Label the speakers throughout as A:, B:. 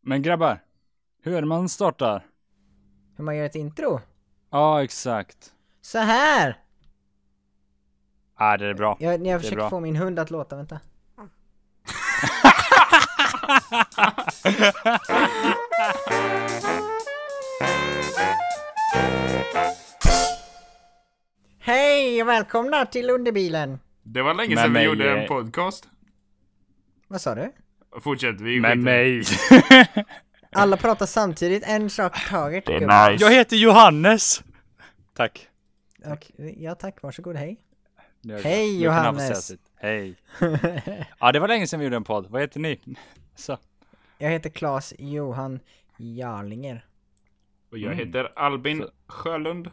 A: Men grabbar, hur är det man startar?
B: Hur man gör ett intro?
A: Ja, exakt.
B: Så här!
A: Ja, det är bra.
B: Jag, jag försöker
A: bra.
B: få min hund att låta, vänta. Hej och välkomna till Underbilen!
C: Det var länge
A: Med
C: sedan vi
A: mig,
C: gjorde
A: eh,
C: en podcast.
B: Vad sa du?
C: Fortsätt, vi
A: Med
C: skiter-
A: mig.
B: Alla pratar samtidigt, en sak i taget. Det
A: Jag heter Johannes. Tack.
B: Ja tack, varsågod, hej.
A: Nu har jag-
B: Hej,
A: nu kan han få
B: Johannes.
A: säga sitt. Hej. Ja, det var länge sedan vi gjorde en podd. Vad heter ni? Så.
B: Jag heter Claes Johan Jarlinger.
C: Och jag heter Albin Sjölund.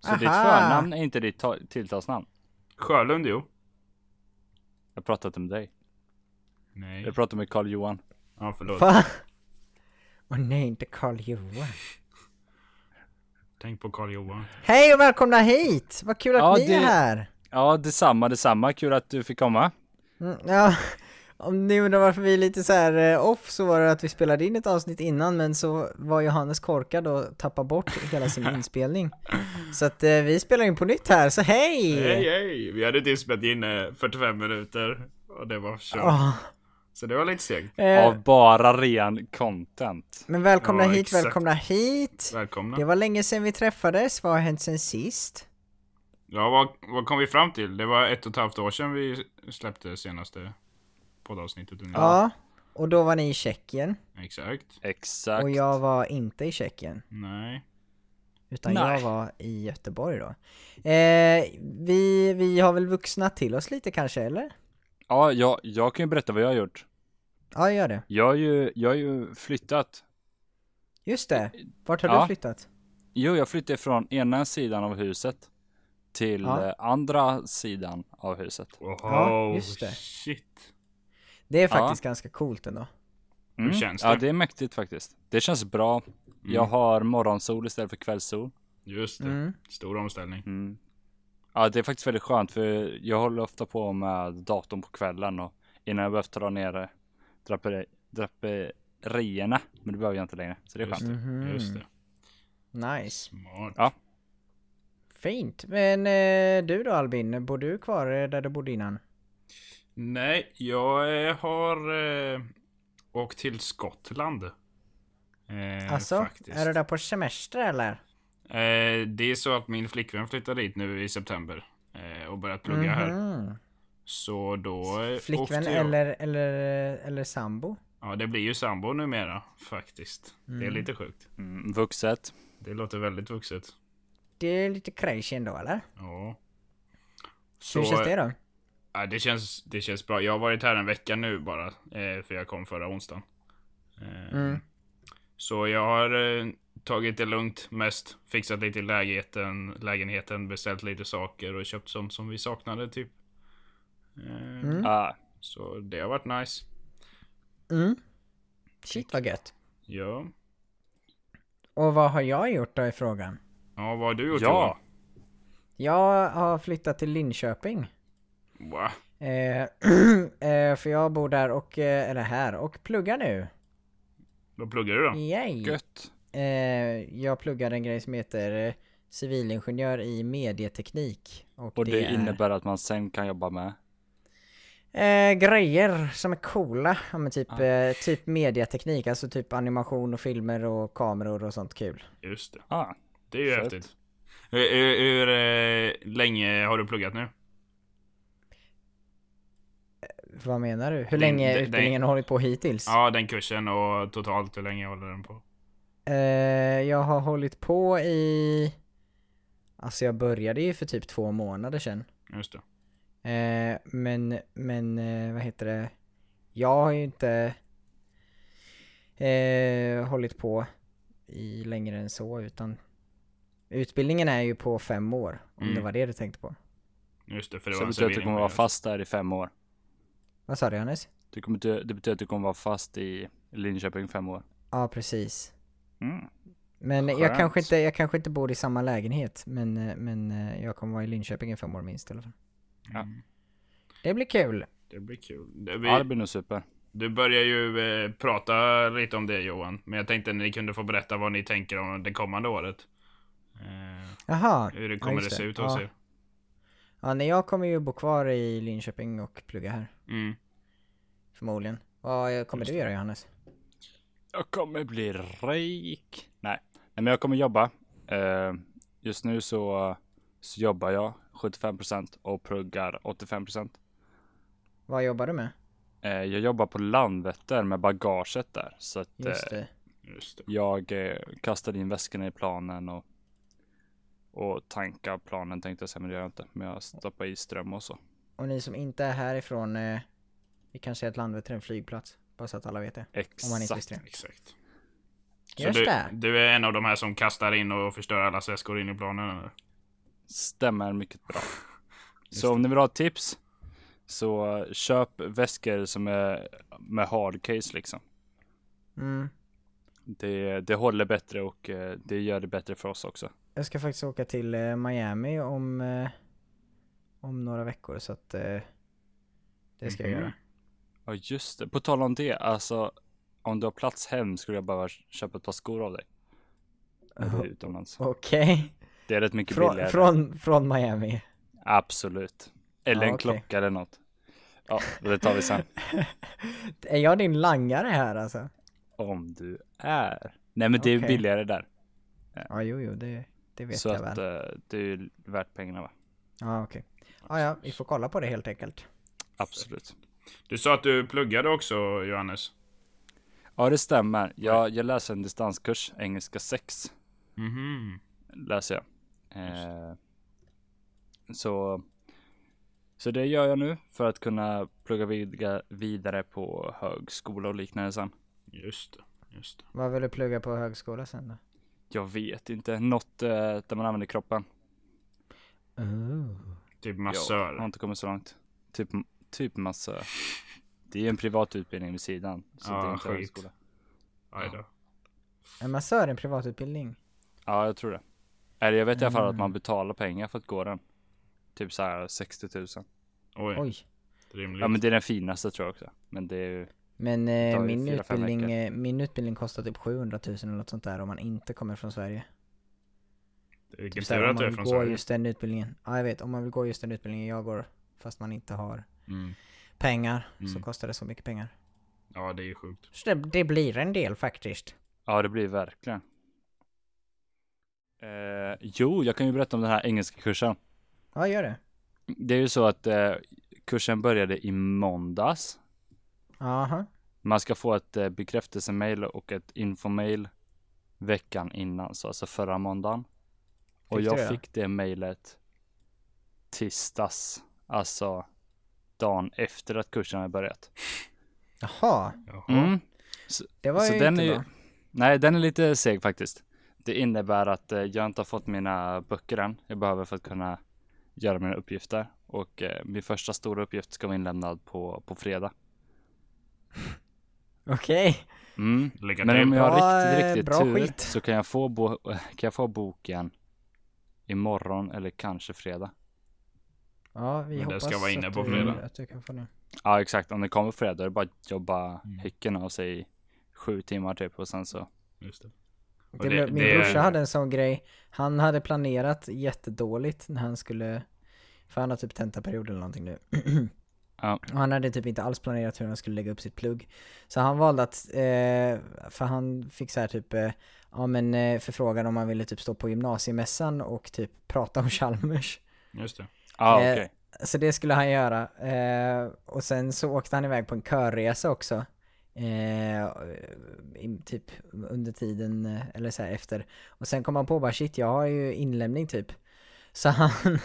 A: Så ditt
B: Aha.
A: förnamn är inte ditt ta- tilltalsnamn.
C: Sjölund, jo.
A: Jag har pratat om dig.
C: Nej.
A: Jag pratar med Karl Johan.
C: Ja, förlåt.
B: Va? Åh nej, inte Carl Johan.
C: Tänk på Karl Johan.
B: Hej och välkomna hit! Vad kul att
A: Ja,
B: ni
A: det-
B: är här!
A: Ja, detsamma, detsamma. Kul att du fick komma.
B: Mm, ja, om ni undrar varför vi är lite så här eh, off så var det att vi spelade in ett avsnitt innan men så var Johannes korkad och tappade bort hela sin inspelning. Så att eh, vi spelar in på nytt här, så hej!
C: Hej, hej! Vi hade typ spelat in eh, 45 minuter. Och det var kört.
A: Ah.
B: Åh,
C: Så det var lite segt.
B: eh,
A: Av bara ren content.
B: men välkomna
C: Ja,
B: hit,
C: exakt.
B: välkomna hit!
C: Välkomna.
B: Det var länge sedan vi träffades, vad har hänt sen sist?
C: Ja, vad, vad kom vi fram till? Det var ett och ett halvt år sedan vi släppte senaste poddavsnittet. ungefär.
B: Ja, och då var ni i Tjeckien
C: Exakt.
A: Exakt.
B: och jag var inte i Tjeckien.
C: Nej.
B: Utan
A: Nej.
B: jag var i Göteborg då. Eh, vi, vi har väl vuxnat till oss lite kanske, eller?
A: Ja, jag, jag kan ju berätta vad jag har gjort.
B: Ja, gör det.
A: Jag har ju, jag har ju flyttat.
B: Just det. Vart har
A: Ja.
B: du flyttat?
A: Jo, jag flyttade från ena sidan av huset till
B: Ja.
A: eh, andra sidan av huset.
C: Wow,
B: Ja, just det.
C: shit.
B: Det är
A: Ja.
B: faktiskt ganska coolt ändå.
A: Mm.
C: känns
A: Ja,
C: det? Mm.
A: det är mäktigt faktiskt. Det känns bra. Jag har morgonsol istället för kvällssol.
C: Just det.
A: Mm.
B: Mm,
C: Stor omställning.
A: Ja, det är faktiskt väldigt skönt för jag håller ofta på med datorn på kvällen och innan jag behövt dra ner eh, draperi, draperierna. Men det behöver jag inte längre, så det är
C: Just
A: skönt.
C: det. Just det.
B: mhm. Nice.
C: Smart.
A: Mm. Ja.
B: Fint. Men eh, du då Albin, bor du kvar eh, där du bodde innan?
C: Nej, jag eh, har eh, åkt till Skottland. Eh,
B: Alltså, är du där på semester eller?
C: Eh, det är så att min flickvän flyttar dit nu i september eh, och börjat plugga här.
B: Mm.
C: Så då eh,
B: Flickvän
C: åkte jag.
B: eller, eller, eller sambo?
C: Ja, det blir ju sambo numera faktiskt. Det är lite sjukt.
A: Mm, vuxet.
C: Det låter väldigt vuxet.
B: Det är lite crazy ändå eller?
C: Ja. Så,
B: Hur känns det då?
C: Ja, det, känns, det känns bra. Jag har varit här en vecka nu bara. Eh, för jag kom förra onsdagen. Eh, Så jag har eh, tagit det lugnt mest. Fixat lite i lägenheten, lägenheten, beställt lite saker och köpt sånt som vi saknade typ. Eh,
B: Mm.
A: Ah,
C: Så det har varit nice. eh,
B: Mm. Shit vad gött.
C: Ja.
B: Och vad har jag gjort då i frågan?
C: Ja, vad har du gjort
A: ja,
B: Jag har flyttat till Linköping.
C: Johan? Va?
B: Eh, eh, för jag bor där och, eh, eller här, och pluggar nu.
C: Vad pluggar du då?
B: Yay!
A: gött.
B: Eh, jag pluggar en grej som heter eh, civilingenjör i medieteknik. Och,
A: Och det,
B: det är
A: innebär att man sen kan jobba med.
B: eh, grejer som är coola. Ja, men typ, eh, typ medieteknik, alltså typ animation och filmer och kameror och sånt kul.
C: Just det.
A: Ah,
C: Det är ju
A: Fett.
C: häftigt. Hur, hur, hur eh, länge har du pluggat nu?
B: Vad menar du? Hur länge
C: det- det-
B: utbildningen har hållit på hittills?
C: Ja, den kursen och totalt hur länge håller den på?
B: Eh, jag har hållit på i... Alltså jag började ju för typ två månader sedan.
C: Just det.
B: Eh, men, men eh, vad heter det? Jag har ju inte eh, hållit på i längre än så utan utbildningen är ju på fem år om det
C: Mm.
B: var det du tänkte på.
C: Just det, för det
A: så
C: var alltså
A: det
C: en
A: betyder att du kommer vara
C: civilingenjör.
A: fast där i fem år.
B: Vad sa du Johannes?
A: Det, kommer, dö- det betyder att du kommer vara fast i Linköping i fem år.
B: Ja precis.
A: Mm.
B: Men jag
C: Skönt.
B: kanske, inte, jag kanske inte bor i samma lägenhet men, eh, men eh, jag kommer vara i Linköping i fem år minst i alla fall.
A: Ja.
B: Det blir kul.
C: Det blir kul. Det blir,
A: Ja, det blir nog super.
C: Du börjar ju eh, prata lite om det Johan, men jag tänkte ni kunde få berätta vad ni tänker om det kommande året. Eh,
B: Jaha.
C: hur det
B: Ja,
C: kommer
B: just
C: det se
B: det.
C: ut hos
B: Ja.
C: er.
B: Ja, nej, jag kommer ju bo kvar i Linköping och plugga här.
C: Mm.
B: Förmodligen. Vad kommer du göra Johannes?
A: Jag kommer bli rik. Nej, Nej men jag kommer jobba. Eh, just nu så, så jobbar jag 75% och pluggar 85%.
B: Vad jobbar du med?
A: Eh, jag jobbar på Landvetter med bagaget där. Så att
B: Just
A: eh,
B: det.
C: Just det.
A: jag eh, kastar in väskorna i planen och, och tankar planen tänkte jag säga, men det gör jag inte. Men jag stoppar i ström och så.
B: Och ni som inte är härifrån, eh, vi kanske är ett Landvetter en flygplats. Bara så att alla vet det. Om man inte
A: Exakt.
B: visste det.
C: Exakt. Så
B: Just
C: du,
B: det!
C: du är en av de här som kastar in och förstör allas väskor in i planen eller?
A: Stämmer mycket bra. Så om ni vill ha tips så köp väskor som är med hardcase liksom.
B: Mm.
A: Det, det håller bättre och eh, det gör det bättre för oss också.
B: Jag ska faktiskt åka till eh, Miami om, eh, om några veckor så att eh, det ska jag
C: Mhm.
B: göra.
A: Ja just det, på tal om det, alltså om du har plats hem skulle jag behöva köpa ett par skor av dig. När du är utomlands.
B: Okej.
A: Det är rätt mycket
B: Från,
A: billigare.
B: från, från Miami.
A: Absolut. Eller
B: Ja,
A: en
B: Ah, okej.
A: klocka eller något. Ja, det tar vi sen.
B: är jag din langare här alltså?
A: Om du är. Nej men det är
B: Okej.
A: billigare där.
B: Ja, jo, jo, det, det vet
A: så
B: jag
A: att
B: väl.
A: eh, det är ju värt pengarna va?
B: Ja, okej. Ja, ja, vi får kolla på det helt enkelt.
A: Absolut.
C: Du sa att du pluggade också Johannes.
A: Ja det stämmer. Jag, jag läser en distanskurs, engelska 6.
B: Mm-hmm.
C: Mhm.
A: läser jag. Eh, så, så det gör jag nu för att kunna plugga vidga, vidare på högskola och liknande sen.
C: Just det. Just det.
B: Vad vill du plugga på högskola sen då?
A: Jag vet inte, något eh, där man använder kroppen.
C: Typ
A: Jag har
C: massör.
A: inte kommit så långt. Typ, typ massa. Det är ju en privat utbildning vid sidan. Så
C: Ja,
A: det är inte
C: skit.
A: högskola.
C: Aj då.
B: En massör är en privatutbildning?
A: Ja, jag tror det. Eller jag vet i alla
C: Mm.
A: fall att man betalar pengar för att gå den. Typ så här 60 000.
C: Oj,
B: Oj.
C: rimligt.
A: Ja, men det är den finaste tror jag också. Men det är ju
B: Men
A: tar
B: eh,
A: ju
B: min,
A: fyra, fem
B: utbildning,
A: veckor.
B: eh, min utbildning kostar typ 700 000 eller något sånt där om man inte kommer från Sverige.
C: Vilken
B: Typ så här,
C: tur
B: om
C: att
B: man
C: du är
B: vill
C: från
B: gå
C: Sverige.
B: just den utbildningen. Ja, jag vet. Om man vill gå just den utbildningen jag går, fast man inte har
A: Mm.
B: pengar, så kostar det så mycket pengar.
C: Ja, det är ju sjukt.
B: Så det, det blir en del faktiskt.
A: Ja, det blir verkligen. Eh, jo, jag kan ju berätta om den här engelska kursen.
B: Ja, gör det.
A: Det är ju så att eh, kursen började i måndags.
B: Aha.
A: Man ska få ett eh, bekräftelsemail och ett infomail veckan innan, så alltså förra måndagen. Och
B: Fick
A: jag
B: du det?
A: fick det mailet tisdags, alltså dagen efter att kursen hade börjat.
B: Jaha.
C: Jaha.
A: Mm.
B: Det var
A: Så
B: ju
A: Alltså, den
B: inte
A: är ju-
B: bra.
A: Nej, den är lite seg faktiskt. Det innebär att eh, jag inte har fått mina böcker än. Jag behöver för att kunna göra mina uppgifter. Och eh, min första stora uppgift ska vara inlämnad på, på fredag.
B: Okej.
A: Mm.
C: Lycka
A: Men om
C: till.
A: jag
B: Bra,
A: har
B: eh,
A: riktigt, riktigt
B: bra
A: tur
B: skit.
A: så kan jag, få bo- kan jag få boken imorgon eller kanske fredag.
B: Ja, vi
C: Men den
B: hoppas
C: ska vara inne
B: att
C: på
B: du,
C: fredag.
B: att du kan få den.
A: Ja, exakt. Om det kommer fredag är det bara att jobba häcken av sig i sju timmar typ och sen så.
C: Just det. Och
B: Det,
C: det-
B: blev- min
C: det är-
B: brorsa hade en sån grej. Han hade planerat jättedåligt när han skulle, för han har typ tentaperiod eller någonting nu.
A: Ja.
B: Och han hade typ inte alls planerat hur han skulle lägga upp sitt plugg. Så han valde att, eh, för han fick så här typ, eh, ja men eh, förfrågan om han ville typ stå på gymnasiemässan och typ prata om Chalmers.
C: Just det.
A: Ja,
B: Eh,
A: okej.
B: Så det skulle han göra. Eh, och sen så åkte han iväg på en körresa också. Eh, i, typ under tiden, eh, eller så här efter. Och sen kom han på bara shit, jag har ju inlämning typ. Så han,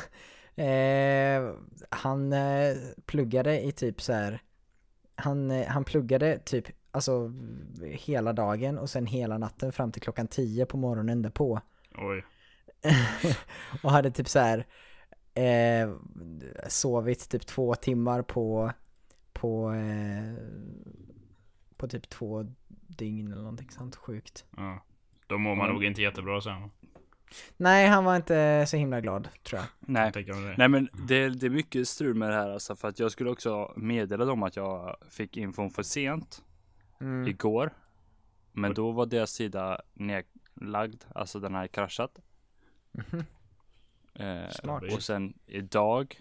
B: eh, han eh, pluggade i typ så här. Han, eh, han pluggade typ, alltså hela dagen och sen hela natten fram till klockan 10 på morgonen därpå.
C: Oj.
B: och hade typ så här eh, sovit typ två timmar på på eh, på typ två dygn eller någonting sånt sjukt.
C: Ja. Då mår man nog inte jättebra sen.
B: Nej, han var inte så himla glad tror jag.
A: Nej.
C: tänker jag det.
A: Nej men det, det är mycket strul med det här alltså, för att jag skulle också meddela dem att jag fick infon för sent
B: Mm.
A: igår. Men då var deras sida nedlagd, alltså den här kraschat. Eh,
B: Mhm. Smart.
A: Och sen idag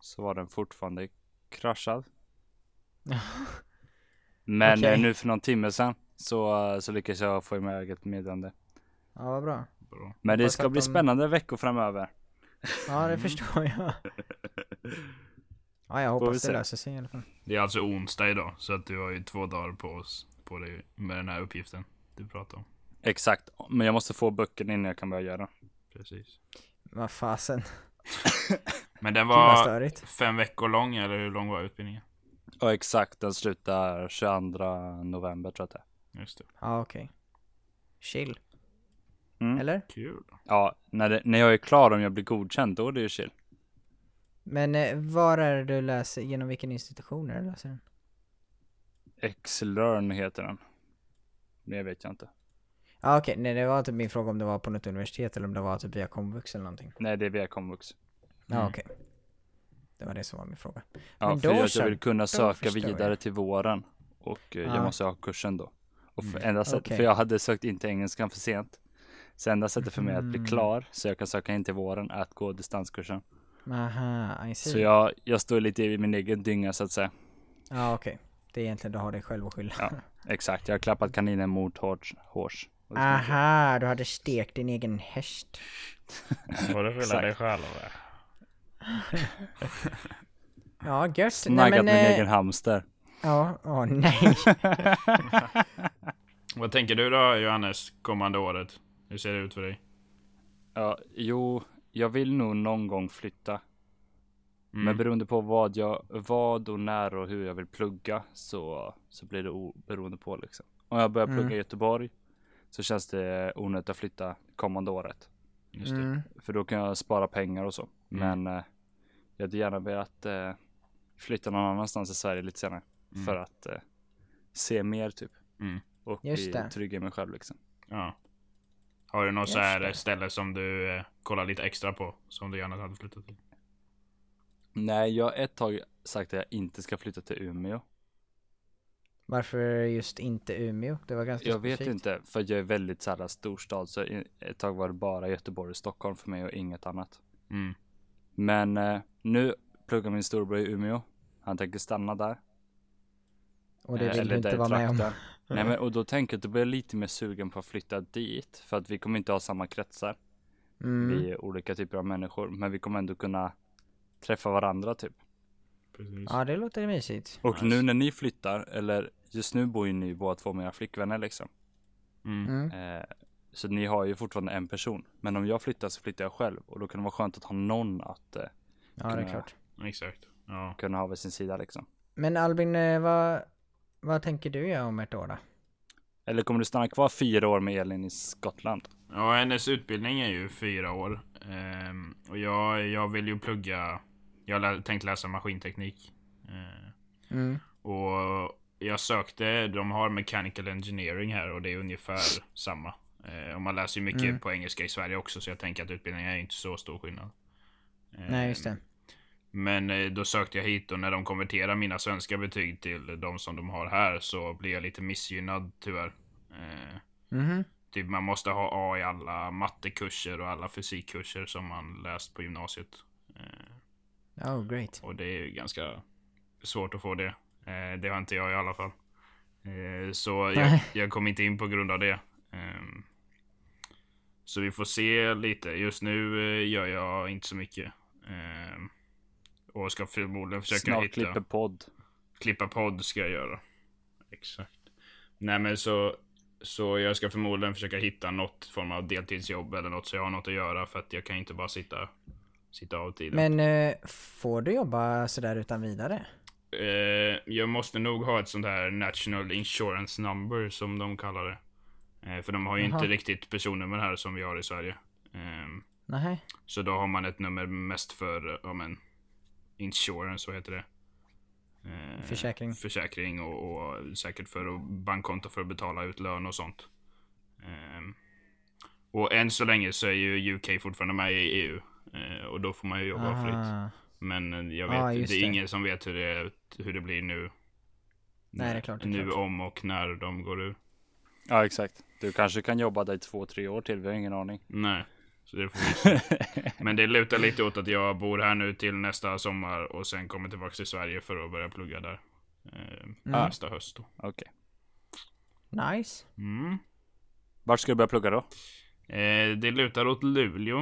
A: så var den fortfarande kraschad. Men
B: Okej.
A: eh, nu för någon timme sedan så, eh, så lyckades jag få iväg ett meddelande.
B: Ja, vad bra.
C: Bra.
A: Men det
B: Hoppas
A: ska
B: att
A: bli
B: de-
A: spännande veckor framöver.
B: Ja,
A: Mm.
B: det förstår jag. Ja, jag
A: vi
B: hoppas det
A: se.
B: löser sig i alla fall.
C: Det är alltså onsdag idag, så att du har ju två dagar på oss på dig med den här uppgiften du pratar om.
A: Exakt, men jag måste få böckerna innan jag kan börja göra den.
C: Precis.
B: Vad fasen.
C: Men den
B: Himla
C: var
B: störigt.
C: fem veckor lång, eller hur lång var utbildningen?
A: Ja exakt, den slutar 22 november tror jag att det är.
C: Just det.
B: Ja, okej. Chill.
A: Mm.
B: Eller?
C: Kul.
A: Ja, när, det, när jag är klar om jag blir godkänd, då är det ju chill.
B: Men eh, var är det du läser, genom vilken institution är det du läser den?
A: Xlearn heter den. Mer vet jag inte.
B: Ja, okej. Nej, det var typ min fråga om det var på något universitet eller om det var typ via komvux eller någonting.
A: Nej, det är via komvux. Mm.
B: Ja, okej. Det var det som var min fråga.
A: Ja,
B: Men
A: för
B: då
A: jag,
B: så,
A: jag vill kunna söka
B: förstår jag.
A: vidare till våren och eh,
B: Ah.
A: jag måste ha kursen då. Och för, enda sätt,
B: Mm. okej.
A: för jag hade sökt in till engelskan för sent. Så enda sättet för mig att
B: Mm.
A: bli klar så jag kan söka in till våren är att gå distanskursen.
B: Aha, I see.
A: Så jag, jag står lite i min egen dynga så att säga.
B: Ja, Ah, okej. Det är egentligen, du har dig själv att skylla.
A: Ja, exakt. Jag har klappat kaninen mot hårs. hårs. Och det är så mycket.
B: Aha, du hade stekt din egen häst.
C: Får du skylla dig själv?
B: Ja, gött.
A: Snaggat
B: nej, men,
A: min
B: eh,
A: egen hamster.
B: Ja, åh nej.
C: Vad tänker du då, Johannes, kommande året? Hur ser det ut för dig?
A: Ja, jo, jag vill nog någon gång flytta.
C: Mm,
A: Men beroende på vad jag, vad och när och hur jag vill plugga så, så blir det o- beroende på liksom. Om jag börjar
B: Mm.
A: plugga i Göteborg så känns det onödigt att flytta kommande året.
C: Just
A: Mm.
C: det.
B: Mm.
A: För då kan jag spara pengar och så. Men eh, jag hade gärna velat eh, flytta någon annanstans i Sverige lite senare.
B: Mm.
A: För att eh, se mer typ.
C: Mm.
A: Och
B: Just
A: bli
B: det.
A: trygg i mig själv liksom.
C: Ja. Har du något
B: Just
C: så här
B: det.
C: ställe som du eh, kollar lite extra på? Som du gärna hade flyttat till?
A: Nej, jag har ett tag sagt att jag inte ska flytta till Umeå.
B: Varför just inte Umeå? Det var ganska
A: Jag vet
B: specifikt.
A: inte, för jag är väldigt så här storstad, så i- ett tag var det bara Göteborg och Stockholm för mig och inget annat.
C: Mm.
A: Men eh, nu pluggar min storbror i Umeå. Han tänker stanna där.
B: Och det
A: eh,
B: vill
A: eller
B: du inte
A: där i
B: vara med om.
A: trakten. Nej, men och då tänker jag att då blir jag lite mer sugen på att flytta dit, för att vi kommer inte ha samma kretsar.
B: Mm.
A: Vi är olika typer av människor, men vi kommer ändå kunna träffa varandra typ.
C: Precis.
B: Ja, det låter mysigt.
A: Och nu när ni flyttar, eller just nu bor ju ni båda två med era flickvänner liksom.
C: Mm.
B: Mm.
A: Eh, så ni har ju fortfarande en person. Men om jag flyttar så flyttar jag själv och då kan det vara skönt att ha någon att eh,
B: Ja, det är
A: kunna-
B: klart.
C: Exakt. Ja.
A: kunna ha vid sin sida liksom.
B: Men Albin, eh, vad, vad tänker du göra om ett år då?
A: Eller kommer du stanna kvar fyra år med Elin i Skottland?
C: ja, hennes utbildning är ju fyra år. Ehm, och jag, jag vill ju plugga... Jag har lä- tänkt läsa maskinteknik. Ehm,
B: Mm.
C: och jag sökte, de har mechanical engineering här och det är ungefär samma. Ehm, och man läser ju mycket
B: Mm.
C: på engelska i Sverige också så jag tänker att utbildningen är inte så stor skillnad. Ehm,
B: Nej, just det.
C: Men eh, då sökte jag hit och när de konverterar mina svenska betyg till de som de har här så blir jag lite missgynnad tyvärr. Eh,
B: Mhm.
C: typ man måste ha A i alla mattekurser och alla fysikkurser som man läst på gymnasiet. Eh,
B: Oh, great.
C: och det är ju ganska svårt att få det. Eh, det har inte jag i alla fall. Eh, så jag,
B: Nej.
C: jag kom inte in på grund av det. Ehm, så vi får se lite. Just nu eh, gör jag inte så mycket. Ehm, och ska förmodligen försöka
A: Snart
C: hitta...
A: klipper podd.
C: Klippa podd ska jag göra. Exakt. Nej men så, så jag ska förmodligen försöka hitta något form av deltidsjobb eller något så jag har något att göra för att jag kan inte bara sitta, sitta av tiden.
B: Men eh, får du jobba sådär utan vidare?
C: Eh, jag måste nog ha ett sånt här National Insurance Number som de kallar det. Eh, för de har ju
B: Jaha.
C: inte riktigt personnummer här som vi har i Sverige. Ehm,
B: Nej.
C: så då har man ett nummer mest för, eh, ja men, insurance, vad heter det? Eh,
B: Försäkring.
C: Försäkring och, och säkert för att bankkonto för att betala ut lön och sånt. Ehm, Och än så länge så är ju UK fortfarande med i EU. eh, Och då får man ju jobba fritt.
B: Ah,
C: Men eh, jag vet,
B: Ah,
C: det är
B: just det.
C: ingen som vet hur det, hur det blir nu.
B: Nej, det är klart, det är
C: nu
B: klart.
C: om och när de går ur.
A: Ja, exakt. Du kanske kan jobba där i två, tre år till. Vi har ingen aning.
C: Nej, så det får vi se. Men det lutar lite åt att jag bor här nu till nästa sommar och sen kommer tillbaka till Sverige för att börja plugga där. Eh,
B: Mm.
C: Nästa höst då.
A: Okej.
B: nice.
C: Mm.
A: Vart ska du börja plugga då?
C: Eh, det lutar åt Luleå.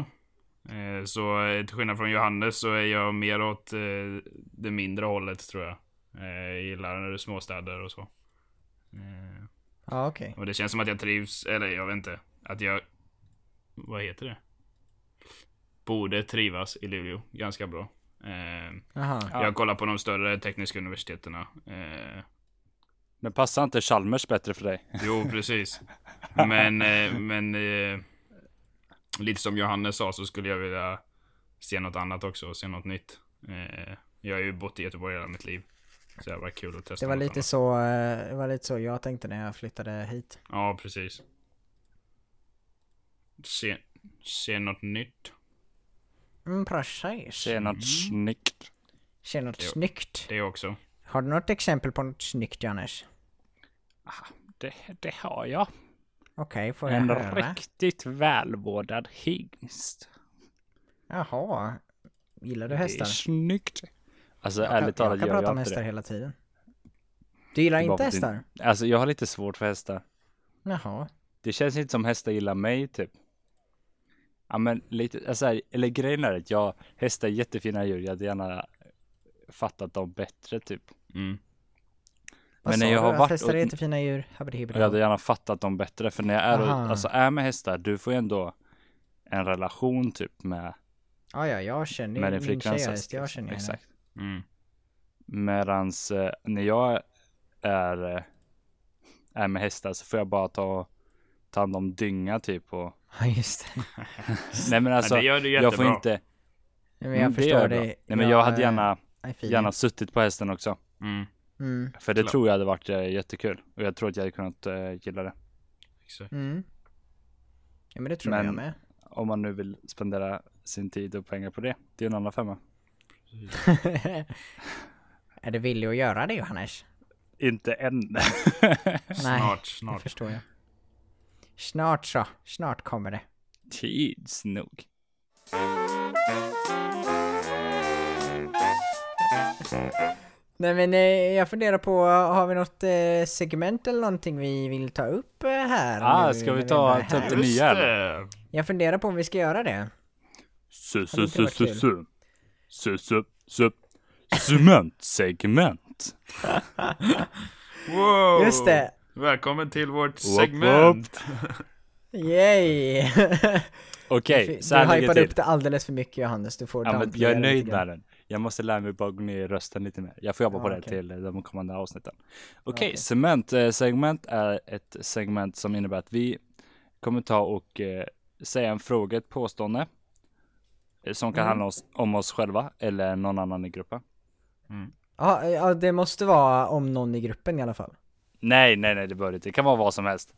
C: Eh, så eh, till skillnad från Johannes så är jag mer åt eh, det mindre hållet tror jag. Eh, jag gillar småstäder och så. Eh,
B: Ja, okej.
C: och det känns som att jag trivs, eller jag vet inte. Att jag, vad heter det? Borde trivas i Luleå ganska bra. Eh,
B: Jaha.
A: Ja.
C: Jag kollar på de större tekniska universiteterna. Eh,
A: Men passar inte Chalmers bättre för dig?
C: jo, precis. Men, eh, men eh, lite som Johannes sa så skulle jag vilja se något annat också, se något nytt. Eh, jag har ju bott i Göteborg hela mitt liv. Så det var kul att testa
B: Det var
C: något
B: lite
C: annat.
B: så, eh, det var lite så jag tänkte när jag flyttade hit.
C: Ja, precis. Se, se något nytt.
B: Mm, precis.
A: Tjena, snyggt.
B: Ser något
C: Jo.
B: snyggt.
C: Det också.
B: Har du något exempel på något snyggt, Johannes?
A: Det, det har jag.
B: Okej, får jag
A: En
B: höra?
A: riktigt välvårdad hingst.
B: Jaha. Gillar
A: Det
B: du
A: är
B: hästar?
A: snyggt. Alltså
B: Jag kan-
A: ärligt talat
B: jag kan
A: gör
B: prata
A: jag
B: om
A: inte
B: hästar
A: det.
B: hela tiden. Du gillar
A: Det är bara
B: inte
A: för att det-
B: hästar?
A: Alltså jag har lite svårt för hästar.
B: Jaha.
A: Det känns inte som hästar gillar mig typ. Ja men lite, alltså, här, eller grejen är att jag, hästar är jättefina djur, jag hade gärna fattat dem bättre typ.
C: Mm.
B: Vad
A: Men
B: sa
A: när jag
B: du?
A: har
B: Att
A: varit
B: hästar är typ-
A: åt-
B: jättefina djur? Habidi, habidi.
A: Jag hade gärna fattat dem bättre, för när jag är, och,
B: Aha.
A: alltså, är med hästar, du får ju ändå en relation typ med,
B: Ja, ja, jag känner
A: med
B: ju
A: din
B: min
A: flickväns
B: tjej
A: häst.
B: häst. Jag
A: liksom.
B: känner henne.
A: Exakt.
C: Mm.
A: Medans eh, när jag är, eh, är med hästar så får jag bara ta, ta hand om dynga typ och...
B: Ja, just det.
A: Nej men alltså,
C: det gör du
A: jag får
C: jättebra.
A: inte...
B: Men jag
A: Mm, det gör
B: förstår
A: jag bra.
B: dig.
A: Nej men jag hade
B: eh,
A: gärna,
B: är fin.
A: gärna suttit på hästen också.
C: Mm.
B: Mm,
A: För det
C: Klart.
A: tror jag hade varit eh, jättekul. Och jag tror att jag hade kunnat eh, gilla det.
C: Exakt.
B: mm. Ja, men det tror
A: Men-
B: jag med.
A: Om man nu vill spendera sin tid och pengar på det. Det är en annan femma.
B: är du villig att göra det, Johannes?
A: Inte än.
B: Nej,
C: Snart,
B: det
C: snart.
B: förstår jag. Snart så. Snart kommer det.
A: Tids nog.
B: Nej men eh, jag funderar på, har vi något eh, segment eller någonting vi vill ta upp eh, här?
A: Ah,
B: nu
A: ska vi
B: när
A: ta-
B: ändå är
A: ta upp
B: här?
A: det nya,
C: Just det!
B: Jag funderar på om vi ska göra det.
A: Su,
B: Hade
A: su,
B: inte
A: su,
B: varit
A: su,
B: kul.
A: su. Su, su, su. Cementsegment.
C: Wow!
B: Just det!
C: Välkommen till vårt
A: wop.
C: segment!
B: Yay!
A: Okej,
B: du
A: så här ligger
B: hypade
A: det
B: upp
A: till.
B: det alldeles för mycket Johannes, du får
A: Ja, men
B: downplaya
A: jag är
B: det
A: nöjd
B: lite grann.
A: med den. Jag måste lära mig bara gå ner i rösten lite mer. Jag får jobba
B: Ja,
A: på det
B: okej.
A: till eh, de kommande avsnitten. Okej,
B: okej.
A: cementsegment är ett segment som innebär att vi kommer ta och eh, säga en fråga, ett påstående. eh, Som
B: Mm.
A: kan handla oss, om oss själva eller någon annan i gruppen.
C: Mm.
B: Ja, eh, ja, det måste vara om någon i gruppen i alla fall.
A: Nej, nej, nej, det behöver det inte. Det kan vara vad som helst.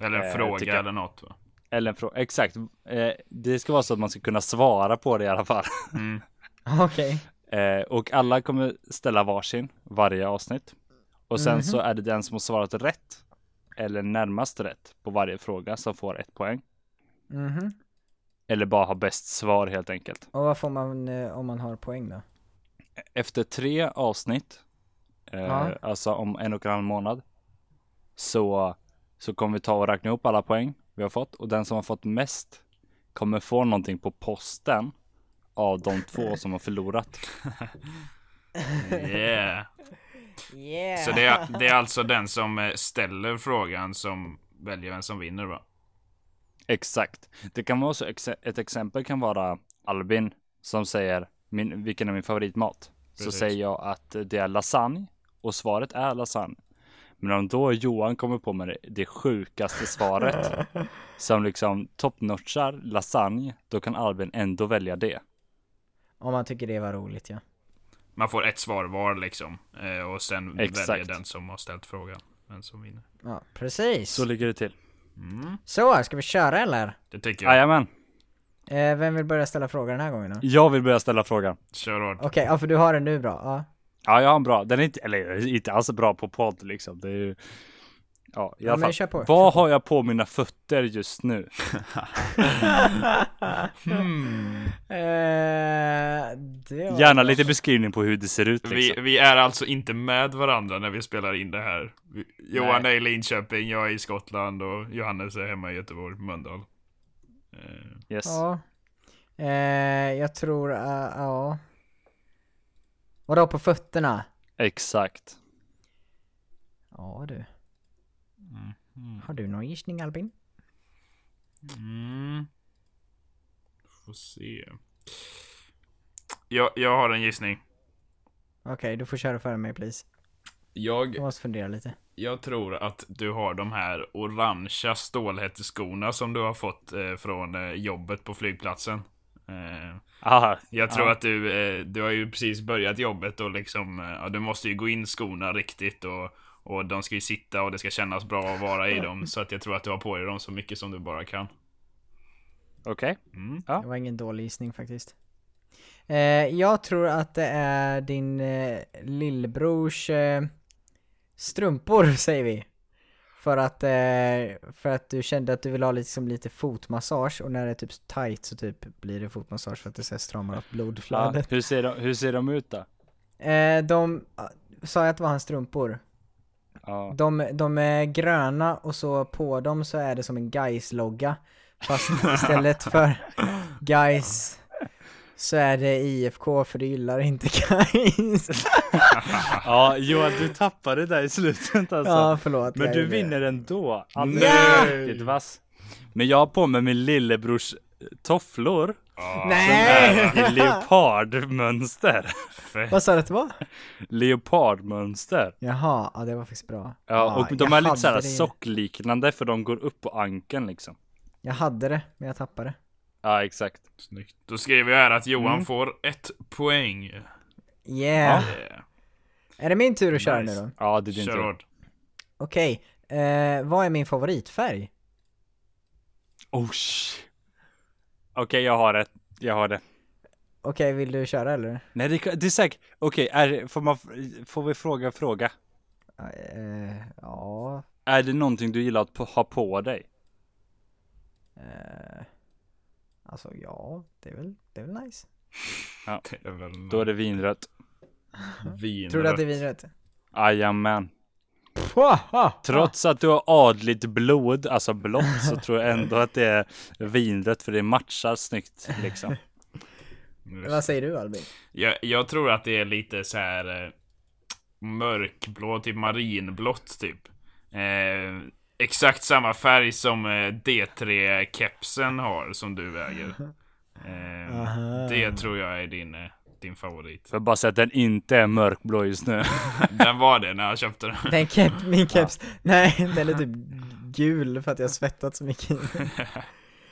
C: Eller en
A: Eh, tycker
C: fråga
A: jag.
C: eller något va?
A: Eller en fråga. Exakt. Eh, det ska vara så att man ska kunna svara på det i alla fall.
C: Mm.
B: Ja, Okej.
A: Eh, och alla kommer ställa varsin varje avsnitt. Och sen så är det den som har svarat rätt eller närmast rätt på varje fråga som får ett poäng.
B: Mhm.
A: Eller bara har bäst svar helt enkelt.
B: Och vad får man eh, om man har poäng då?
A: Efter tre avsnitt, eh,
B: Ja.
A: alltså om en och en halv månad, så, så kommer vi ta och räkna ihop alla poäng vi har fått. Och den som har fått mest kommer få någonting på posten av de två som har förlorat.
C: Yeah!
B: Yeah!
C: Så det är, det är alltså den som eh, ställer frågan som väljer vem som vinner va?
A: Exakt. Det kan vara så, exe- ett exempel kan vara Albin som säger min, vilken är min favoritmat? Så
C: Precis.
A: säger jag att det är lasagne och svaret är lasagne. Men om då Johan kommer på med det, det sjukaste svaret som liksom toppnotchar lasagne, då kan Albin ändå välja det.
B: Om man tycker det var roligt ja.
C: Man får ett svar var liksom. eh, Och sen
A: Exakt.
C: väljer den som har ställt frågan vem som vinner.
B: Ja, precis.
A: Så ligger det till.
C: Mm,
B: Så, ska vi köra eller?
C: det tycker jag.
A: Jajamän.
B: Eh, vem vill börja ställa frågor den här gången då? Okej,
A: Jag vill börja ställa frågan.
C: Kör hårt.
B: ja för du har den nu bra. Ja.
A: Ja, jag har en bra. Den är inte, eller, inte alls bra på podd liksom. Det är ju... Ja, i
B: Ja,
A: alla
B: men
A: fall.
B: kör på,
A: Vad har jag på mina fötter just nu?
C: Hmm.
B: Eh, det var...
A: Gärna lite beskrivning på hur det ser ut
C: Vi,
A: liksom.
C: vi är alltså inte med varandra när vi spelar in det här. Vi, Johan är i Linköping, jag är i Skottland och Johannes är hemma i Göteborg, på Mölndal. Eh,
A: Yes.
B: Ja. Eh, jag tror, eh, ja. Vadå på fötterna?
A: Exakt.
B: Ja du. Har du någon gissning Albin?
C: Mm. Får se. Jag, jag har en gissning.
B: Okej, du får köra före mig please.
C: Jag,
B: Jag måste fundera lite.
C: jag tror att du har de här orangea stålhätteskorna som du har fått eh, från eh, jobbet på flygplatsen. Eh,
A: Aha.
C: jag tror
A: Ja.
C: att du, eh, du har ju precis börjat jobbet och liksom, eh, ja, du måste ju gå in skorna riktigt och, och de ska ju sitta och det ska kännas bra att vara i dem. Så att jag tror att du har på dig dem så mycket som du bara kan.
A: Okej.
C: Mm.
A: Ja.
B: Det var ingen dålig gissning faktiskt. Eh, jag tror att det är din eh, lillbrors eh, strumpor säger vi. För att, eh, för att du kände att du ville ha liksom lite fotmassage och när det är typ tight så typ blir det fotmassage för att det så här stramar upp
A: Ja,
B: blodflödet.
A: Ah, hur, ser de, hur ser de ut då?
B: Eh, de, sa jag att det var hans strumpor?
A: Ja.
B: De, de är gröna och så på dem så är det som en guys logga Fast istället för guys så är det IFK för det gillar inte guys
A: ja, Johan du tappade där i slutet alltså.
B: Ja förlåt.
A: Men
B: jag
A: du
B: gjorde det.
A: vinner ändå.
C: Nej!
A: Vilket vass. Men jag har på mig min lillebrors tofflor. Äh,
C: Ja,
B: Nej!
A: I leopardmönster.
C: fett.
B: Vad sa du att det var?
A: Leopardmönster.
B: Jaha, ja det var faktiskt bra.
A: Ja, och de
B: Ah, jag
A: är lite såhär
B: hade det.
A: sockliknande för de går upp på ankeln liksom.
B: Jag hade det, men jag tappade det.
A: Ja, exakt.
C: Snyggt. Då skriver jag här att Johan får ett poäng. Eh,
B: Yeah!
C: Yeah.
B: Är det min tur att köra
C: Nice.
B: nu då?
A: Ja, det är din
C: Kör
A: tur.
C: hårt.
B: Okej, eh, vad är min favoritfärg?
A: Oh, sh- Okej, jag har det. Jag har det.
B: Okej, vill du köra eller?
A: Nej, det, det är säkert. Okej, är- får, man- får vi fråga en fråga?
B: Eh, ja,
A: Är det någonting du gillar att på- ha på dig?
B: Eh, alltså ja, det är väl, det är väl nice.
C: Det är väl
A: Då är det vinrött.
C: vin.
B: Tror du att det är vinrött?
A: Jajamän.
B: Pah!
A: Trots att du har adligt blod, alltså blått, så tror jag ändå att det är vinrött för det matchar snyggt liksom.
B: Vad säger du Albin?
C: jag, jag tror att det är lite så här eh, mörkblå, typ marinblått typ. Eh, exakt samma färg som eh, D3-kepsen har som du väger. Eh,
B: Aha.
C: det tror jag är din, eh, din favorit.
A: För bara säga att den inte är mörkblå just nu.
C: Den var det när jag köpte den.
B: Den kep, min keps, nej den är typ gul för att jag har svettat så mycket.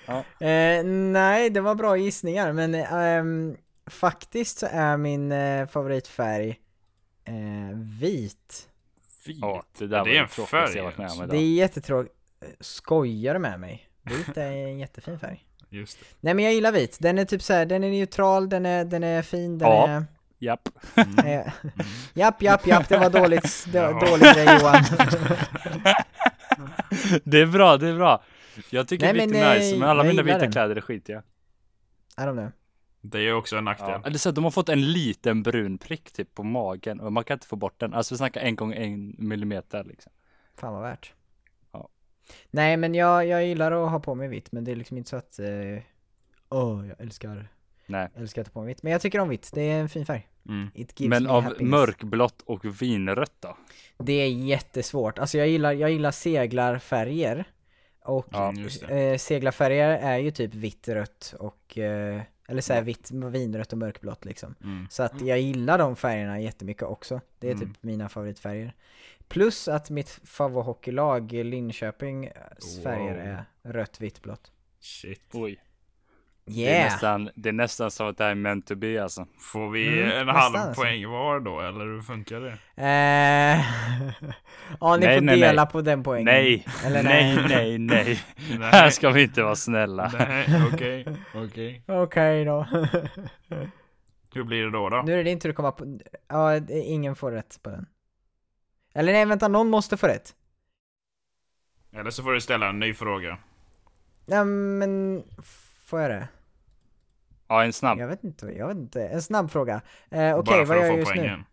A: Ja.
B: eh, nej, det var bra gissningar men ehm, faktiskt så är min eh, favoritfärg eh, vit.
C: Fint.
A: Ja, det där var
C: Det är en
A: det tråkigaste jag
C: färg,
A: varit med om
C: alltså.
B: Det
A: idag.
B: är jättetråkigt. Skojar du med mig? Vit är en jättefin färg.
C: Just det.
B: Nej men jag gillar vit, den är typ så här, den är neutral, den är, den är fin, den
A: Ja.
B: är...
A: Japp. Mm.
B: Eh, japp, japp, japp, det var dåligt, det var
C: Ja.
B: dålig grej Johan.
A: Det är bra, det är bra. Jag tycker
B: Nej,
A: vitt är
B: men,
A: nice,
B: eh,
A: men alla
B: jag
A: mina
B: gillar
A: vita
B: den.
A: kläder är skitiga.
B: I don't know.
C: Det är ju också en nackdel.
A: Ja. Eller så att de har fått en liten brun prick typ på magen och man kan inte få bort den. Alltså vi snackar en gång en millimeter liksom.
B: Fan vad värt.
A: Ja.
B: Nej men jag, jag gillar att ha på mig vitt, men det är liksom inte så att... eh, Åh, jag älskar,
A: Nej.
B: älskar att ha på mig vitt. Men jag tycker om vitt, det är en fin färg.
C: Mm.
B: It gives
A: Men
B: me
A: av
B: happiness.
A: mörkblått och vinrött då?
B: Det är jättesvårt. Alltså jag gillar, jag gillar seglarfärger. Och
A: Ja,
C: just det.
B: eh, seglarfärger är ju typ vitt, rött och... Eh, eller
A: Mm.
B: såhär vitt, vinrött och mörkblått liksom.
C: Mm.
B: Så att jag gillar de färgerna jättemycket också. Det är
C: Mm.
B: typ mina favoritfärger. Plus att mitt favorithockeylag Linköpings eh,
C: Wow.
B: färger är rött, vitt, blått.
C: Shit.
A: Oj. Det, är
B: Yeah!
A: nästan, det är nästan som att det här är meant to be alltså.
C: Får vi
B: Mm,
C: en
B: nästan
C: halv
B: alltså.
C: poäng var då, eller hur funkar det?
B: Eh, ja, ni
A: Nej, nej,
B: får
A: nej.
B: dela på den poängen.
A: Nej,
B: Eller
A: nej,
B: nej.
A: nej, nej.
C: Nej.
A: Här ska vi inte vara snälla.
C: Nej, okej. okej.
B: Okej då.
C: Hur blir det då? då?
B: nu är det din tur att komma på... Ja, det- ingen får rätt på den. Eller nej, vänta, någon måste få rätt.
C: Eller så får du ställa en ny fråga.
B: Nej, men... Får jag det?
A: Ja, en snabb.
B: Jag vet inte, jag vet inte. En snabb fråga. Eh, Okej,
C: bara för
B: vad gör
C: att
B: jag
C: få
B: just nu?
C: poängen.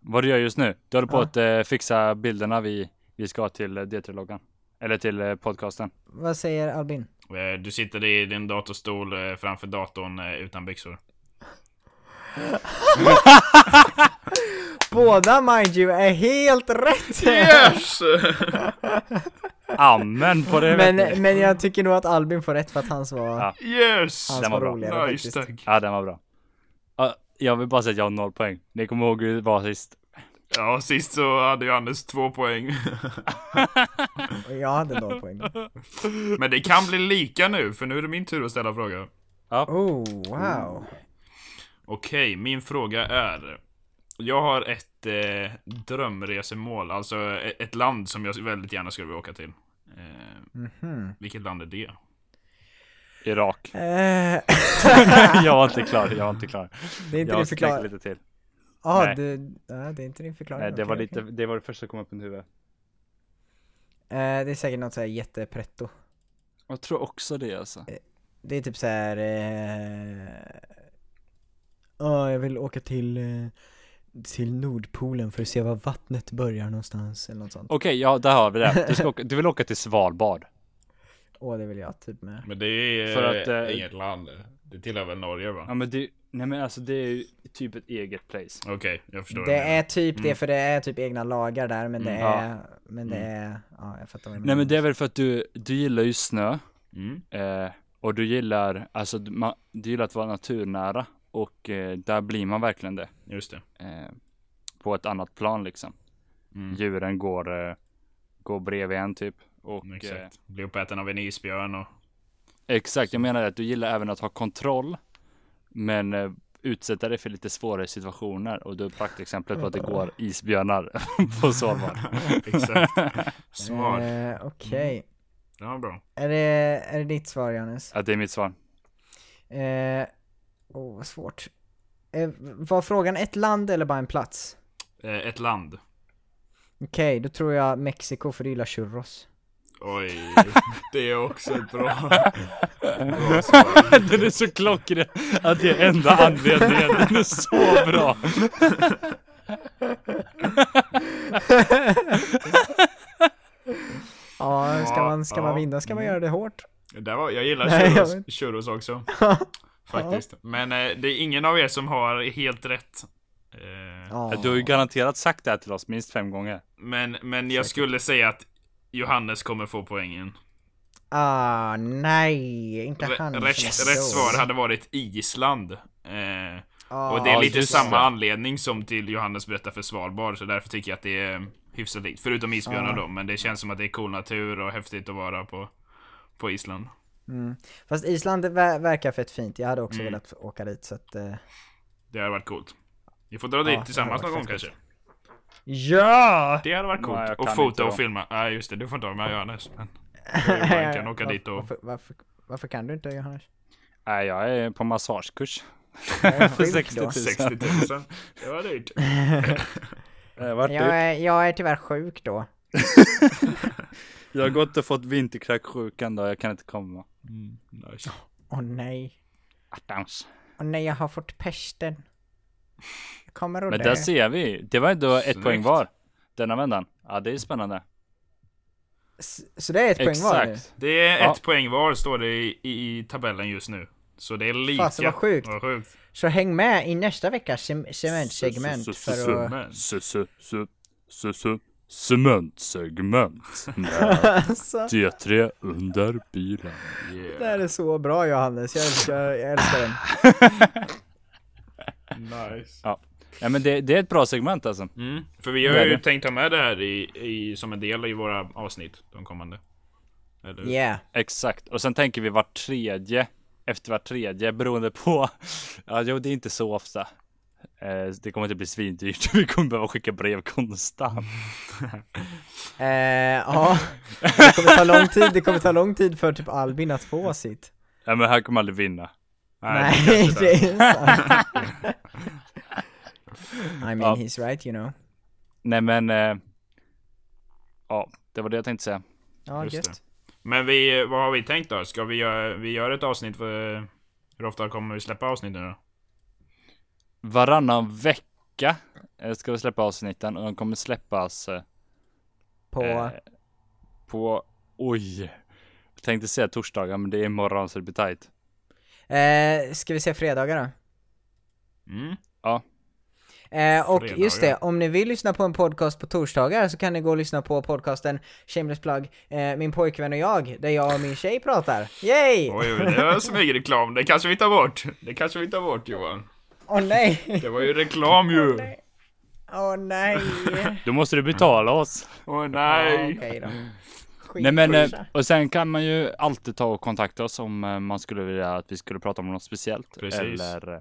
A: Vad du gör just nu? Du håller på
B: Ja.
A: att eh, fixa bilderna vi, vi ska ha till eh, D3-loggan. Eller till eh, podcasten.
B: Vad säger Albin?
C: Eh, Du sitter i din datorstol eh, framför datorn eh, utan byxor.
B: Båda, mind you, är helt rätt!
C: Yes!
A: Amen på det! vet
B: men,
A: ni.
B: men jag tycker nog att Albin får rätt för att hans var...
A: Ja.
C: yes!
B: Hans
A: Den
B: var
A: var bra.
B: roligare
C: Nice,
B: faktiskt.
C: tack.
A: Ja, den var bra. Ja, jag vill bara säga att jag har noll poäng. Ni kommer ihåg hur det var sist.
C: Ja, sist så hade ju Anders två poäng.
B: Och jag hade noll poäng.
C: Men det kan bli lika nu, för nu är det min tur att ställa frågan.
B: Oh, wow.
C: Okej, min fråga är. Jag har ett eh, drömresemål, alltså e- ett land som jag väldigt gärna skulle vilja åka till. Eh,
B: Mhm.
C: vilket land är det?
A: Irak.
B: Eh,
A: jag var inte klar, jag var inte klar.
B: det är inte
A: Jag
B: din
A: skrek
B: förklaring.
A: lite till.
B: Ah,
A: Nej.
B: du, ja, det är inte din förklaring.
A: Nej, det
B: Okej,
A: var
B: okej.
A: lite, det var det första som kom upp i mitt huvud.
B: Eh, det är säkert något såhär jättepretto.
A: Jag tror också det alltså.
B: Det är typ såhär... eh, Ja, jag vill åka till... eh, till Nordpolen för att se var vattnet börjar någonstans eller något sånt.
A: Okej, ja, där har vi det. Du, ska åka, du vill åka till Svalbard.
B: Åh, det vill jag typ med.
C: Men det är
A: För att, eh,
C: inget land. Det tillhör väl Norge va?
A: Ja, men det, nej men alltså det är ju typ ett eget place.
C: Okej, jag förstår.
B: Det
C: vad du menar.
B: är typ det, för det är typ egna lagar där, men det
C: Mm,
A: Mm. ja. Mm.
B: är... Men det är... Ja, jag fattar vad du
A: Nej men det är väl för att du, du gillar ju snö.
C: Mm.
A: Eh, och du gillar, alltså du, ma, du gillar att vara naturnära. Och eh, där blir man verkligen det.
C: Just det.
A: Eh, på ett annat plan liksom.
C: Mm.
A: Djuren går, eh, går bredvid en typ. Och, Eh,
C: Mm, Exakt. Bli uppäten av en isbjörn och...
A: exakt, jag menar att du gillar även att ha kontroll. Men eh, utsätta dig för lite svårare situationer. Och du är praktexemplet på att det går isbjörnar på Svalbard.
C: Exakt. Smart.
B: Eh, Okej.
A: Mm.
C: Det var bra.
B: Är, det, är det ditt svar, Johannes?
A: Ja, det är mitt svar.
B: Eh, oh, vad svårt. Eh, var frågan ett land eller bara en plats?
C: Eh, ett land.
B: Okej, då tror jag Mexiko för du gillar churros.
C: Oj, det är också ett bra, bra svar.
A: Den är så klockren att det är enda anledningen. Den är så bra.
B: Ja, ska man, ska man
C: Ja,
B: vinna ska man
C: mm.
B: göra det hårt.
C: Det var, jag gillar
B: Nej, jag
C: churros,
B: vet.
C: churros också. Faktiskt. Men eh, det är ingen av er som har helt rätt. Eh,
B: Ja.
A: Du har ju garanterat sagt det här till oss minst fem gånger.
C: men, men jag skulle säga att Johannes kommer få poängen.
B: Ah, nej, inte
C: Rä-
B: han.
C: rätt,
B: som är
C: rätt
B: så.
C: svar hade varit Island. Eh,
B: Ah,
C: och det är
A: Ja,
C: lite
A: just
C: samma
A: det.
C: anledning som till Johannes berättar för Svalbard, så därför tycker jag att det är hyfsat likt. Förutom isbjörnar
B: Ja.
C: då, men det känns som att det är cool natur och häftigt att vara på, på Island.
B: mm. Fast Island ver- verkar fett fint. Jag hade också
C: Mm.
B: velat åka dit så att... Eh...
C: Det hade varit coolt. Vi får dra
B: det
C: dit
B: hade varit
C: tillsammans någon gång
B: fett
C: kanske.
B: Ja!
C: Det hade varit coolt.
A: Nej, jag kan
C: och fota
A: inte
C: och
A: då.
C: filma. Nej just det, du får inte vara med Johannes. Men jag kan åka
B: Varf-
C: dit och...
B: Varför, varför, varför kan du inte Johannes?
A: Nej, jag är på massagekurs.
B: Jag är
A: För
B: sjuk
A: 60
B: då.
A: 000.
C: 60 000. Det var dyrt.
A: Jag har, varit
B: Jag
A: ut.
B: är, jag är tyvärr sjuk då.
A: jag har gått och fått vinterkräksjukan då, jag kan inte komma.
C: Mm, nice.
B: Åh nej.
A: Attans.
B: Åh nej, jag har fått pesten. Jag kommer att
A: Men
B: dö.
A: där ser vi, det var ändå ett
C: Snyggt.
A: poäng var. Denna vändan. Ja, det är spännande.
B: S- Så det är ett poäng var nu?
A: Exakt.
C: Det är
A: Ja.
C: ett poäng var står det i, i, i tabellen just nu. Så det är lika.
B: Fasen, vad sjukt.
C: Vad sjukt.
B: Så häng med i nästa veckas cem- cementsegment för att...
C: Men,
A: Cementsegment.
B: Alltså,
A: D3 under bilen.
B: det
C: yeah.
B: här är så bra Johannes, jag älskar, jag älskar den.
C: Nice.
A: Ja, ja men det, det är ett bra segment alltså.
C: Mm. För vi
A: Det
C: har
A: är
C: ju
A: det.
C: tänkt ta med det här i, i, som en del i våra avsnitt. De kommande. Eller hur?
B: Yeah.
A: Exakt, och sen tänker vi vart tredje efter var tredje beroende på. Ja, jo, det är inte så ofta. Eh, Det kommer inte bli svindyrt. Vi kommer behöva skicka brev konstant.
B: Eh, ja, det kommer ta lång tid, det kommer ta lång tid för typ Albin att få sitt.
A: Ja, men han kommer aldrig vinna.
B: Nej,
C: kanske
B: det
C: inte.
B: är sant. I mean,
A: Ja.
B: he's right, you know.
A: Nej, men. eh, Ja, det var det jag tänkte säga.
B: Ja,
C: Just
B: gött.
C: Men vi, vad har vi tänkt då? Ska vi göra, vi gör ett avsnitt för... Hur ofta kommer vi släppa avsnitt nu då?
A: Varannan vecka eh, ska vi släppa avsnitten och de kommer släppas eh,
B: På,
A: Eh, på, oj. Jag tänkte säga torsdagar men det är imorgon så det blir tajt.
B: eh, ska vi se fredagar då?
C: Mm.
B: Eh, och
C: Fredagar.
B: just det, om ni vill lyssna på en podcast på torsdagar så kan ni gå och lyssna på podcasten Shameless Plug, eh, min pojkvän och jag, där jag och min tjej pratar. Yay! Åh
C: Oj, oj, det var smygreklam. Det kanske vi tar bort. Det kanske vi tar bort Johan.
B: nej!
C: Det var ju reklam ju.
B: Åh nej!
A: Då måste du betala oss.
C: Åh
B: Ja,
C: nej.
B: Okej då. Skit
A: Nej men,
B: i
A: eh,
B: det.
A: och sen kan man ju alltid ta och kontakta oss om eh, man skulle vilja att vi skulle prata om något speciellt.
C: Precis.
A: Eller, eh,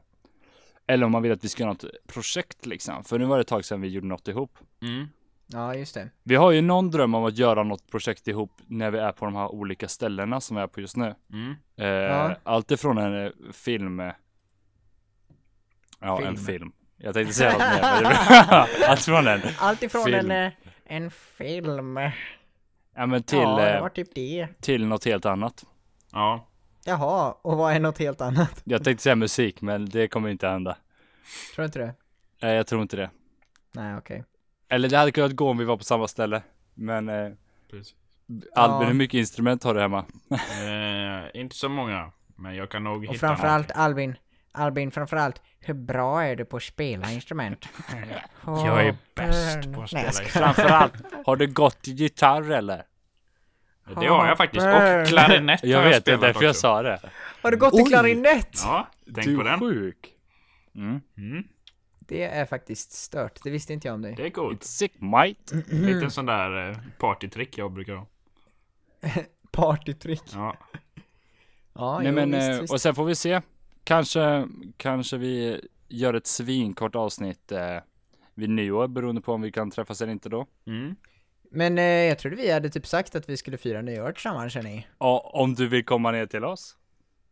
A: eller om man vill att vi ska göra något projekt liksom. För nu var det ett tag sedan vi gjorde något ihop.
C: Mm.
B: Ja, just det.
A: Vi har ju någon dröm om att göra något projekt ihop när vi är på de här olika ställena som vi är på just nu.
C: Mm.
A: Eh,
B: Ja.
A: Allt ifrån en eh, film. eh, Ja, en
B: Film.
A: film. Jag tänkte säga något mer. men det- Allt från en.
B: Allt ifrån
A: Film.
B: en, eh, en film.
A: Ja, men till,
B: ja, det
A: eh,
B: var typ det.
A: till något helt annat.
C: Ja.
B: Jaha, och vad är något helt annat?
A: Jag tänkte säga musik, men det kommer inte hända.
B: Tror du inte det?
A: Eh, jag tror inte det.
B: Nej, okej.
A: Eller det hade kunnat gå om vi var på samma ställe. Men eh,
C: Precis.
A: Albin,
B: Ja.
A: hur mycket instrument har du hemma?
C: Eh, inte så många. Men jag kan nog hitta
B: Och framförallt Albin, Albin framförallt, hur bra är du på att spela instrument?
C: Jag är bäst på
B: Nej,
C: att spela
B: jag
C: gitarr.
A: Framförallt, har du gått gitarr eller?
C: Det har jag faktiskt. Och klarinett har
A: Jag vet, det är
C: spelat
A: därför jag
C: också.
A: sa det.
B: Har du gått i
A: Oj!
B: klarinett?
C: Ja, tänk
A: du
C: på
A: är
C: den.
A: sjuk. Mm.
C: Mm,
B: Det är faktiskt stört, det visste inte jag om dig.
C: det är coolt.
A: It's sick mate.
B: Mm.
C: Lite sån där eh, partytrick jag brukar ha.
B: Partytrick.
C: Ja.
B: Ja,
A: Nej,
B: jo,
A: men,
B: visst,
A: eh,
B: visst.
A: och sen får vi se. Kanske, kanske vi gör ett svinkort avsnitt eh, vid nyår beroende på om vi kan träffas eller inte då.
C: Mm.
B: men eh, jag trodde vi hade typ sagt att vi skulle fira nyår tillsammans känner ni.
A: Ja, om du vill komma ner till oss.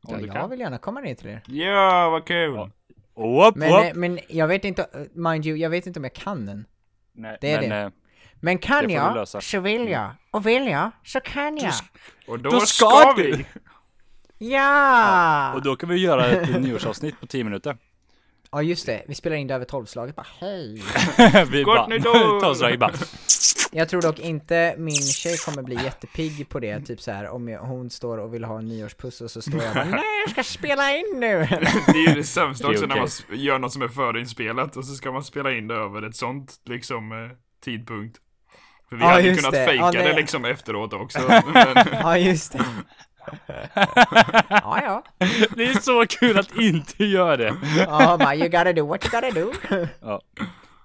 A: Om
B: Ja,
A: du
B: jag vill gärna komma ner till er.
C: Ja, vad kul!
A: Ja. Whoop,
B: Men,
A: whoop.
B: eh, men jag vet inte, eh, mind you, jag vet inte om jag kan den.
A: Nej,
B: det är
A: men,
B: det.
A: eh,
B: Men
A: Det
B: kan
A: får du
B: jag,
A: lösa. Mm.
B: så vill jag. Och vill jag, så kan jag.
C: Och då,
A: Då
C: ska,
A: ska
C: vi!
A: du.
B: Ja!
A: eh, Och då kan vi göra ett nyårsavsnitt på 10 minuter.
B: Ja just det, vi spelar in det över tolvslaget bara hej.
A: vi
C: Gott
A: bara,
C: nytt år!
A: ta oss draget bara.
B: Jag tror dock inte min tjej kommer bli jättepigg på det, typ så här om jag, hon står och vill ha en nyårspuss och så står jag bara nej jag ska spela in nu.
C: Det är ju det sämsta
A: Det är
C: också när
A: okej.
C: man s- gör något som är förinspelat och så ska man spela in det över ett sånt liksom eh, tidpunkt. För vi
B: Ja,
C: hade ju
B: just
C: kunnat
B: det.
C: fejka
B: Ja,
C: det
B: nej.
C: liksom efteråt också. Men,
B: Ja just det. Ja ja.
A: Det är så kul att inte göra det.
B: Ja bara you gotta do what you gotta do.
A: Ja.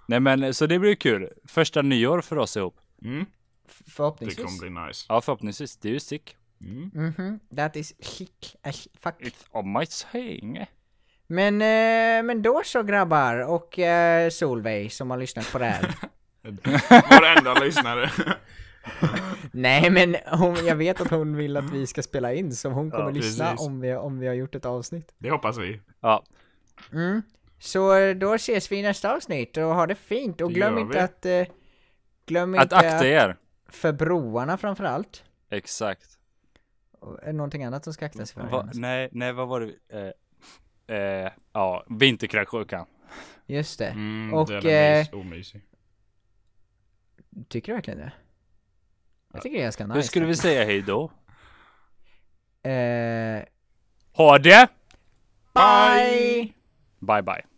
A: Nej men så det blir kul. Första nyår för oss ihop.
C: mm, det kommer
B: Förhoppningsvis.
C: bli nice.
A: Ja förhoppningsvis. Det är ju sick.
C: Mm.
B: Mhm, that is chic as fuck.
A: It's on my saying.
B: Men, eh, men då så grabbar och eh, Solveig som har lyssnat på det här.
C: Varenda lyssnare.
B: Nej men hon, jag vet att hon vill att vi ska spela in så hon kommer lyssna
C: precis.
B: om vi, om vi har gjort ett avsnitt.
C: Det hoppas vi.
A: Ja.
B: Mm. Så eh, då ses vi i nästa avsnitt och ha det fint och
C: Det
B: glöm
C: gör
B: inte
C: vi.
B: att... Eh, glöm
A: Att
B: inte
A: akta er.
B: att- för broarna framförallt.
A: Exakt.
B: Och, eh, Någonting annat som ska aktas för.
A: Va, nej, nej vad var det? Eh, eh, ja, vinterkräksjukan.
B: Just det.
C: Mm,
B: Och,
C: den är
B: eh,
C: mys- omysig.
B: Tycker du verkligen det? Jag tycker det är ganska nice.
A: Hur skulle vi säga hej då?
B: Eh,
A: Ha det!
B: bye! Eh,
A: Bye bye.